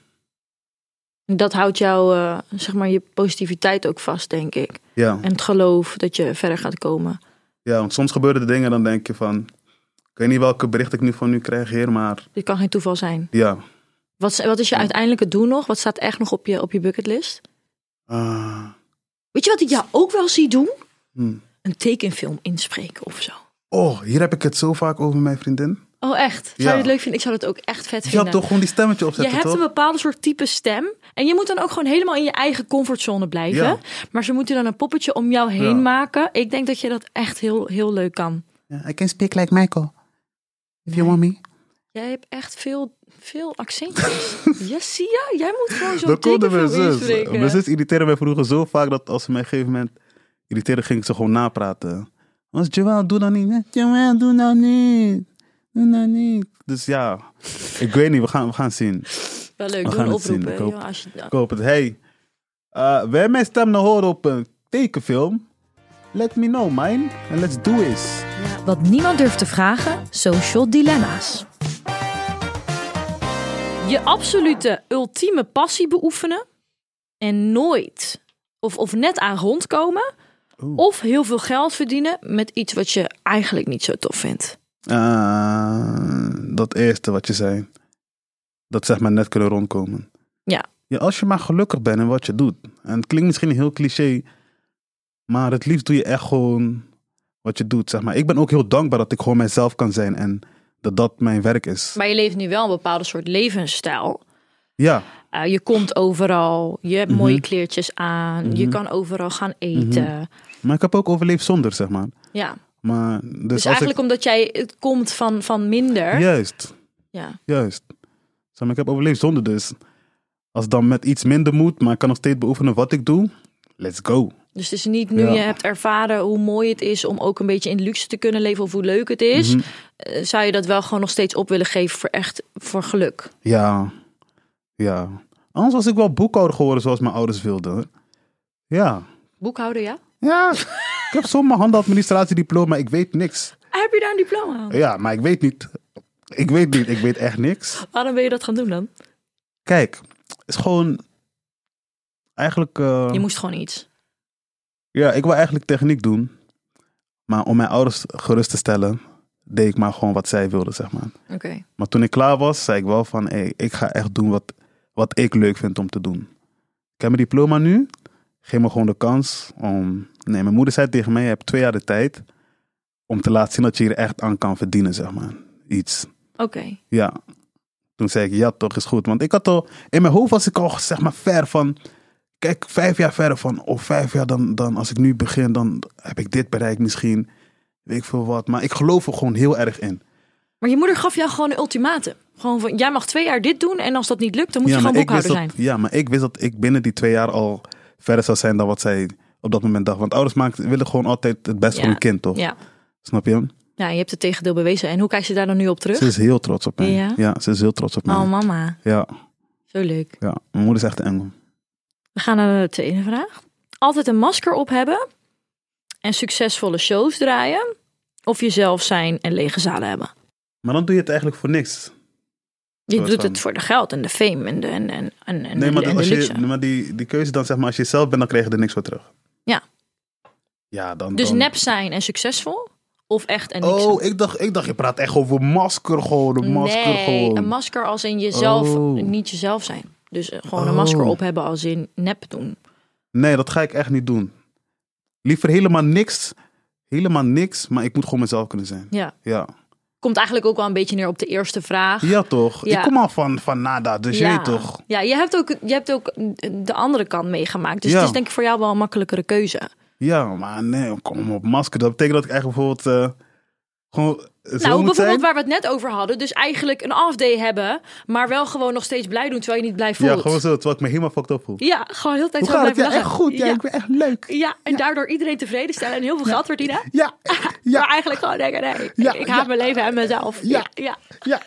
C: Dat houdt jou, eh, zeg maar, je positiviteit ook vast, denk ik.
B: Ja.
C: En het geloof dat je verder gaat komen.
B: ja, want soms gebeuren er dingen en dan denk je van... Ik weet niet welke bericht ik nu van u krijg, heer, maar
C: Dit kan geen toeval zijn.
B: ja.
C: Wat, is- wat is je uiteindelijke doel nog? Wat staat echt nog op je, op je bucketlist?
B: Ah,
C: Weet je wat ik jou ook wel zie doen?
B: hm.
C: Een tekenfilm inspreken of zo.
B: Oh, hier heb ik het zo vaak over mijn vriendin.
C: Oh, echt? Zou
B: Ja.
C: je het leuk vinden? Ik zou dat ook echt vet
B: Je
C: vinden.
B: had toch gewoon die stemmetje
C: Je
B: opzetten,
C: hebt
B: toch?
C: een bepaalde soort type stem. En je moet dan ook gewoon helemaal in je eigen comfortzone blijven.
B: Ja.
C: Maar ze moeten dan een poppetje om jou heen
B: Ja.
C: maken. Ik denk dat je dat echt heel, heel leuk kan.
B: Ja, I can speak like Michael. If you want me.
C: Jij hebt echt veel, veel accentjes. yes, zie je? Jij moet gewoon zo'n
B: Dat
C: dikke
B: konden mijn
C: veel
B: zus. Mijn
C: inspreken.
B: zus irriteerde mij vroeger zo vaak dat als ze mij op een gegeven moment irriteerde, ging ik ze gewoon napraten. Was Joël, doe dat niet. hè? Joël, doe dat niet. Doe dat niet. Dus ja, ik weet niet, we gaan, we gaan zien.
C: Wel
B: We
C: leuk, doe
B: gaan
C: een
B: het zien,
C: oproep. hè,
B: ik hoop-
C: joh, als je- ja.
B: Ik hoop het. Hey, eh wil je mijn stem nou horen op een tekenfilm? Let me know, man. En let's do this.
E: Wat niemand durft te vragen, social dilemma's.
C: Je absolute ultieme passie beoefenen en nooit of, of net aan rondkomen.
B: Oeh.
C: Of heel veel geld verdienen met iets wat je eigenlijk niet zo tof vindt.
B: Eh, dat eerste wat je zei. Dat zeg maar net kunnen rondkomen.
C: Ja.
B: ja. Als je maar gelukkig bent in wat je doet. En het klinkt misschien heel cliché. Maar het liefst doe je echt gewoon wat je doet. Zeg maar. Ik ben ook heel dankbaar dat ik gewoon mijzelf kan zijn. En dat dat mijn werk is.
C: Maar je leeft nu wel een bepaalde soort levensstijl.
B: Ja.
C: Eh, je komt overal, je hebt
B: Mhm.
C: mooie kleertjes aan, je kan overal gaan eten.
B: Maar ik heb ook overleefd zonder, zeg maar.
C: Ja.
B: maar dus
C: Dus,
B: als
C: eigenlijk omdat jij het komt van, van minder.
B: ik... Juist.
C: Ja.
B: Juist. Zeg maar, ik heb overleefd zonder dus. Als het dan met iets minder moet, maar ik kan nog steeds beoefenen wat ik doe. Let's go.
C: Dus het is niet nu
B: Ja.
C: je hebt ervaren hoe mooi het is om ook een beetje in luxe te kunnen leven of hoe leuk het is.
B: Mhm.
C: eh, zou je dat wel gewoon nog steeds op willen geven voor echt voor geluk?
B: Ja. Ja. Anders was ik wel boekhouder geworden zoals mijn ouders wilden. hoor. Ja.
C: Boekhouder, ja?
B: Ja. ik heb zo'n handenadministratiediploma, ik weet niks.
C: Heb je daar een diploma aan?
B: Ja, maar ik weet niet. Ik weet niet, ik weet echt niks.
C: Waarom wil je dat gaan doen Ah, dan?
B: Kijk, het is gewoon... Eigenlijk... eh,
C: Je moest gewoon iets.
B: Ja, ik wil eigenlijk techniek doen. Maar om mijn ouders gerust te stellen, deed ik maar gewoon wat zij wilden, zeg maar.
C: Oké.
B: Maar toen ik klaar was, zei ik wel van, hey, ik ga echt doen wat, wat ik leuk vind om te doen. Ik heb mijn diploma nu. Geef me gewoon de kans om... Nee, mijn moeder zei tegen mij, je hebt twee jaar de tijd om te laten zien dat je hier echt aan kan verdienen, zeg maar. Iets.
C: Oké.
B: Ja. Toen zei ik, ja toch, is goed. Want ik had al, in mijn hoofd was ik al zeg maar ver van, kijk, vijf jaar verder van, of vijf jaar dan, dan als ik nu begin, dan heb ik dit bereikt misschien. Weet ik veel wat. Maar ik geloof er gewoon heel erg in.
C: Maar je moeder gaf jou gewoon een ultimatum. Gewoon van, jij mag twee jaar dit doen en als dat niet lukt, dan moet je
B: maar
C: gewoon
B: ik wist
C: boekhouder zijn.
B: dat, ja, maar ik wist dat ik binnen die twee jaar al verder zou zijn dan wat zij op dat moment dacht. Want ouders maken, willen gewoon altijd het beste
C: Ja.
B: voor hun kind, toch?
C: Ja.
B: Snap je?
C: ja, je hebt het tegendeel bewezen. En hoe kijkt ze daar dan nu op terug?
B: Ze is heel trots op mij.
C: Ja?
B: ze is heel trots op mij.
C: Oh, mama.
B: ja,
C: Zo leuk.
B: ja, mijn moeder is echt een engel.
C: We gaan naar de tweede vraag. Altijd een masker op hebben en succesvolle shows draaien. Of jezelf zijn en lege zalen hebben.
B: Maar dan doe je het eigenlijk voor niks.
C: Je
B: Zoals
C: doet
B: dan.
C: het voor de geld en de fame en de, en, en, en, en
B: Nee, maar,
C: de, en
B: als
C: de
B: je,
C: luxe.
B: maar die, die keuze dan, zeg maar, als je zelf bent, dan krijg je er niks voor terug.
C: Ja.
B: Ja, dan...
C: Dus
B: dan-
C: nep zijn en succesvol? Of echt en niks?
B: Oh, ik dacht, ik dacht, je praat echt over masker gewoon, een masker
C: nee,
B: gewoon.
C: een masker als in jezelf
B: Oh.
C: niet jezelf zijn. Dus eh, gewoon een
B: Oh.
C: masker op hebben als in nep doen.
B: nee, dat ga ik echt niet doen. Liever helemaal niks, helemaal niks, maar ik moet gewoon mezelf kunnen zijn.
C: Ja.
B: Ja,
C: Komt eigenlijk ook wel een beetje neer op de eerste vraag.
B: ja toch?
C: Ja.
B: Ik kom al van, van nada, dus jij
C: ja.
B: toch?
C: Ja, je hebt, ook, je hebt ook de andere kant meegemaakt. Dus
B: Ja.
C: het is denk ik voor jou wel een makkelijkere keuze. Nou,
B: Ja, maar nee, kom op, masker. Dat betekent dat ik eigenlijk bijvoorbeeld eh, gewoon zo moet
C: nou, bijvoorbeeld
B: zijn.
C: waar we het net over hadden. Dus eigenlijk een off day hebben, maar wel gewoon nog steeds blij doen terwijl je niet blij voelt.
B: Ja, gewoon zo, terwijl ik me helemaal fucked up voel.
C: Ja, gewoon heel de tijd
B: Hoe
C: zo
B: gaat het?
C: blijven
B: Ja,
C: lachen.
B: echt goed. Ja,
C: ja.
B: ik ben echt leuk.
C: Ja, en daardoor iedereen tevreden stellen en heel veel geld verdienen.
B: Ja,
C: Maar
B: ja,
C: eigenlijk gewoon denken, nee, ik-
B: Ja,
C: ik, haat
B: ja.
C: mijn leven en mezelf.
B: Ja.
C: ja.
B: ja.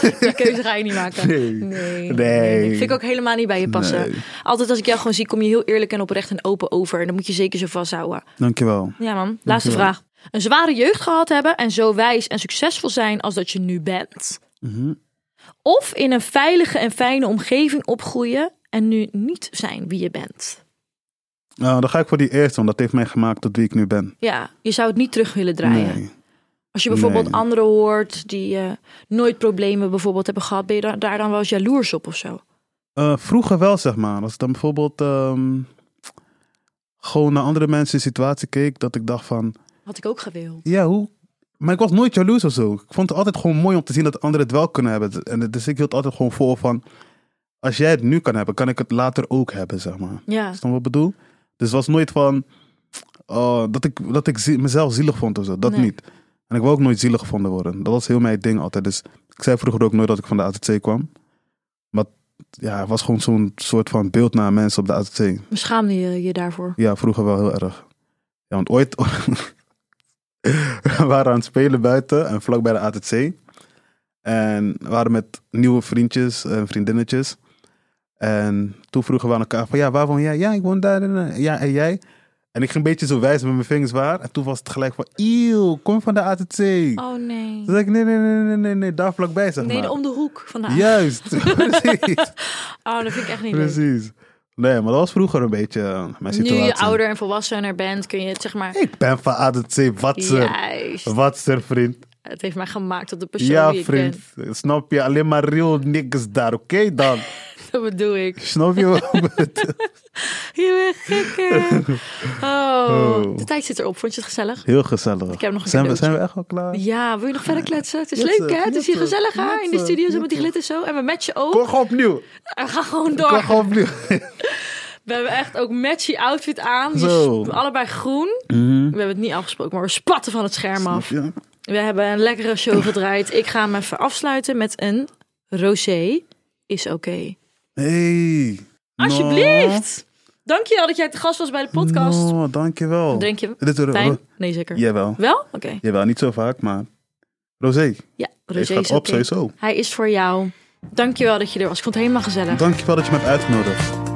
C: Die keuze ga je niet maken.
B: Nee.
C: Nee.
B: Nee.
C: Vind ik ook helemaal niet bij je passen.
B: Nee.
C: Altijd als ik jou gewoon zie, kom je heel eerlijk en oprecht en open over. En dat moet je zeker zo vasthouden.
B: Dankjewel.
C: Ja man, laatste
B: Dankjewel.
C: vraag. Een zware jeugd gehad hebben en zo wijs en succesvol zijn als dat je nu bent.
B: Mhm.
C: Of in een veilige en fijne omgeving opgroeien en nu niet zijn wie je bent.
B: Nou, dan ga ik voor die eerste, want dat heeft mij gemaakt tot wie ik nu ben.
C: Ja, je zou het niet terug willen draaien.
B: Nee.
C: Als je bijvoorbeeld
B: Nee.
C: anderen hoort die eh, nooit problemen bijvoorbeeld hebben gehad, ben je da- daar dan wel eens jaloers op of zo?
B: Eh, vroeger wel, zeg maar. Als ik dan bijvoorbeeld ehm, gewoon naar andere mensen in situatie keek, dat ik dacht van,
C: Had ik ook gewild.
B: ja, hoe... Maar ik was nooit jaloers of zo. Ik vond het altijd gewoon mooi om te zien dat anderen het wel kunnen hebben. En het- dus ik hield altijd gewoon vol van, als jij het nu kan hebben, kan ik het later ook hebben, zeg maar.
C: Ja.
B: Snap je wat ik bedoel? Dus het was nooit van eh, dat ik, dat ik zie- mezelf zielig vond of zo. Dat
C: Nee.
B: niet. En ik wil ook nooit zielig gevonden worden. Dat was heel mijn ding altijd. Dus Ik zei vroeger ook nooit dat ik van de ATT kwam. Maar ja, het was gewoon zo'n soort van beeld naar mensen op de ATT.
C: Schaamde je je daarvoor?
B: Ja, vroeger wel heel erg. Ja, want ooit... we waren aan het spelen buiten en vlak bij de ATC. En we waren met nieuwe vriendjes en vriendinnetjes. En toen vroegen we aan elkaar van, ja, waar woon jij? Ja, ik woon daar. en daar. Ja, en jij? En ik ging een beetje zo wijzen met mijn vingers waar. En toen was het gelijk van, eeuw, kom van de ATC.
C: Oh nee.
B: Toen zei ik, nee, nee, nee, nee, nee, nee, daar vlakbij, zeg
C: Nee,
B: maar.
C: om de hoek vandaag.
B: Juist, precies.
C: Oh, dat vind ik echt niet leuk.
B: precies. Nee, maar dat was vroeger een beetje eh, mijn
C: Nu
B: situatie.
C: je ouder en volwassener bent, kun je het zeg maar...
B: Ik ben van ADC, wat ze.
C: Juist.
B: Wat ze, vriend.
C: Het heeft mij gemaakt tot de persoon
B: Ja,
C: die ik
B: vriend. Snap je? Alleen maar real niggas daar, oké dan?
C: ben. Dat bedoel ik.
B: Snap je wat ik bedoel?
C: Je bent gekker. Oh.
B: Oh.
C: De tijd zit erop. Vond je het gezellig?
B: Heel gezellig.
C: Ik heb nog een
B: zijn, we,
C: cadeautje.
B: zijn we echt al klaar?
C: Ja, wil je nog verder kletsen? Het is
B: Kletsen,
C: leuk, hè? Het is hier
B: kletsen,
C: gezellig, hè? In de
B: kletsen,
C: studio zo met die
B: kletsen.
C: glitters zo. En we matchen ook.
B: Kom gewoon opnieuw.
C: En ga gewoon
B: Kom
C: door.
B: gewoon opnieuw.
C: We hebben echt ook matchy outfit aan. Die
B: Zo. Mhm.
C: is allebei groen. We hebben het niet afgesproken, maar we spatten van het scherm af.
B: Ja.
C: We hebben een lekkere show gedraaid. Ik ga hem even afsluiten met een rosé is oké.
B: Hey.
C: Alsjeblieft. Dankjewel dat jij te gast was bij de podcast.
B: No, no, dankjewel.
C: Drink je
B: Dit is
C: Fijn? Nee, zeker.
B: Jawel.
C: Wel? Oké.
B: Jawel, niet zo vaak, maar... Rosé,
C: Ja,
B: deze
C: rosé
B: gaat
C: is
B: op
C: oké.
B: sowieso.
C: Hij is voor jou. Dankjewel dat je er was. Ik vond het helemaal gezellig.
B: Dankjewel dat je me hebt uitgenodigd.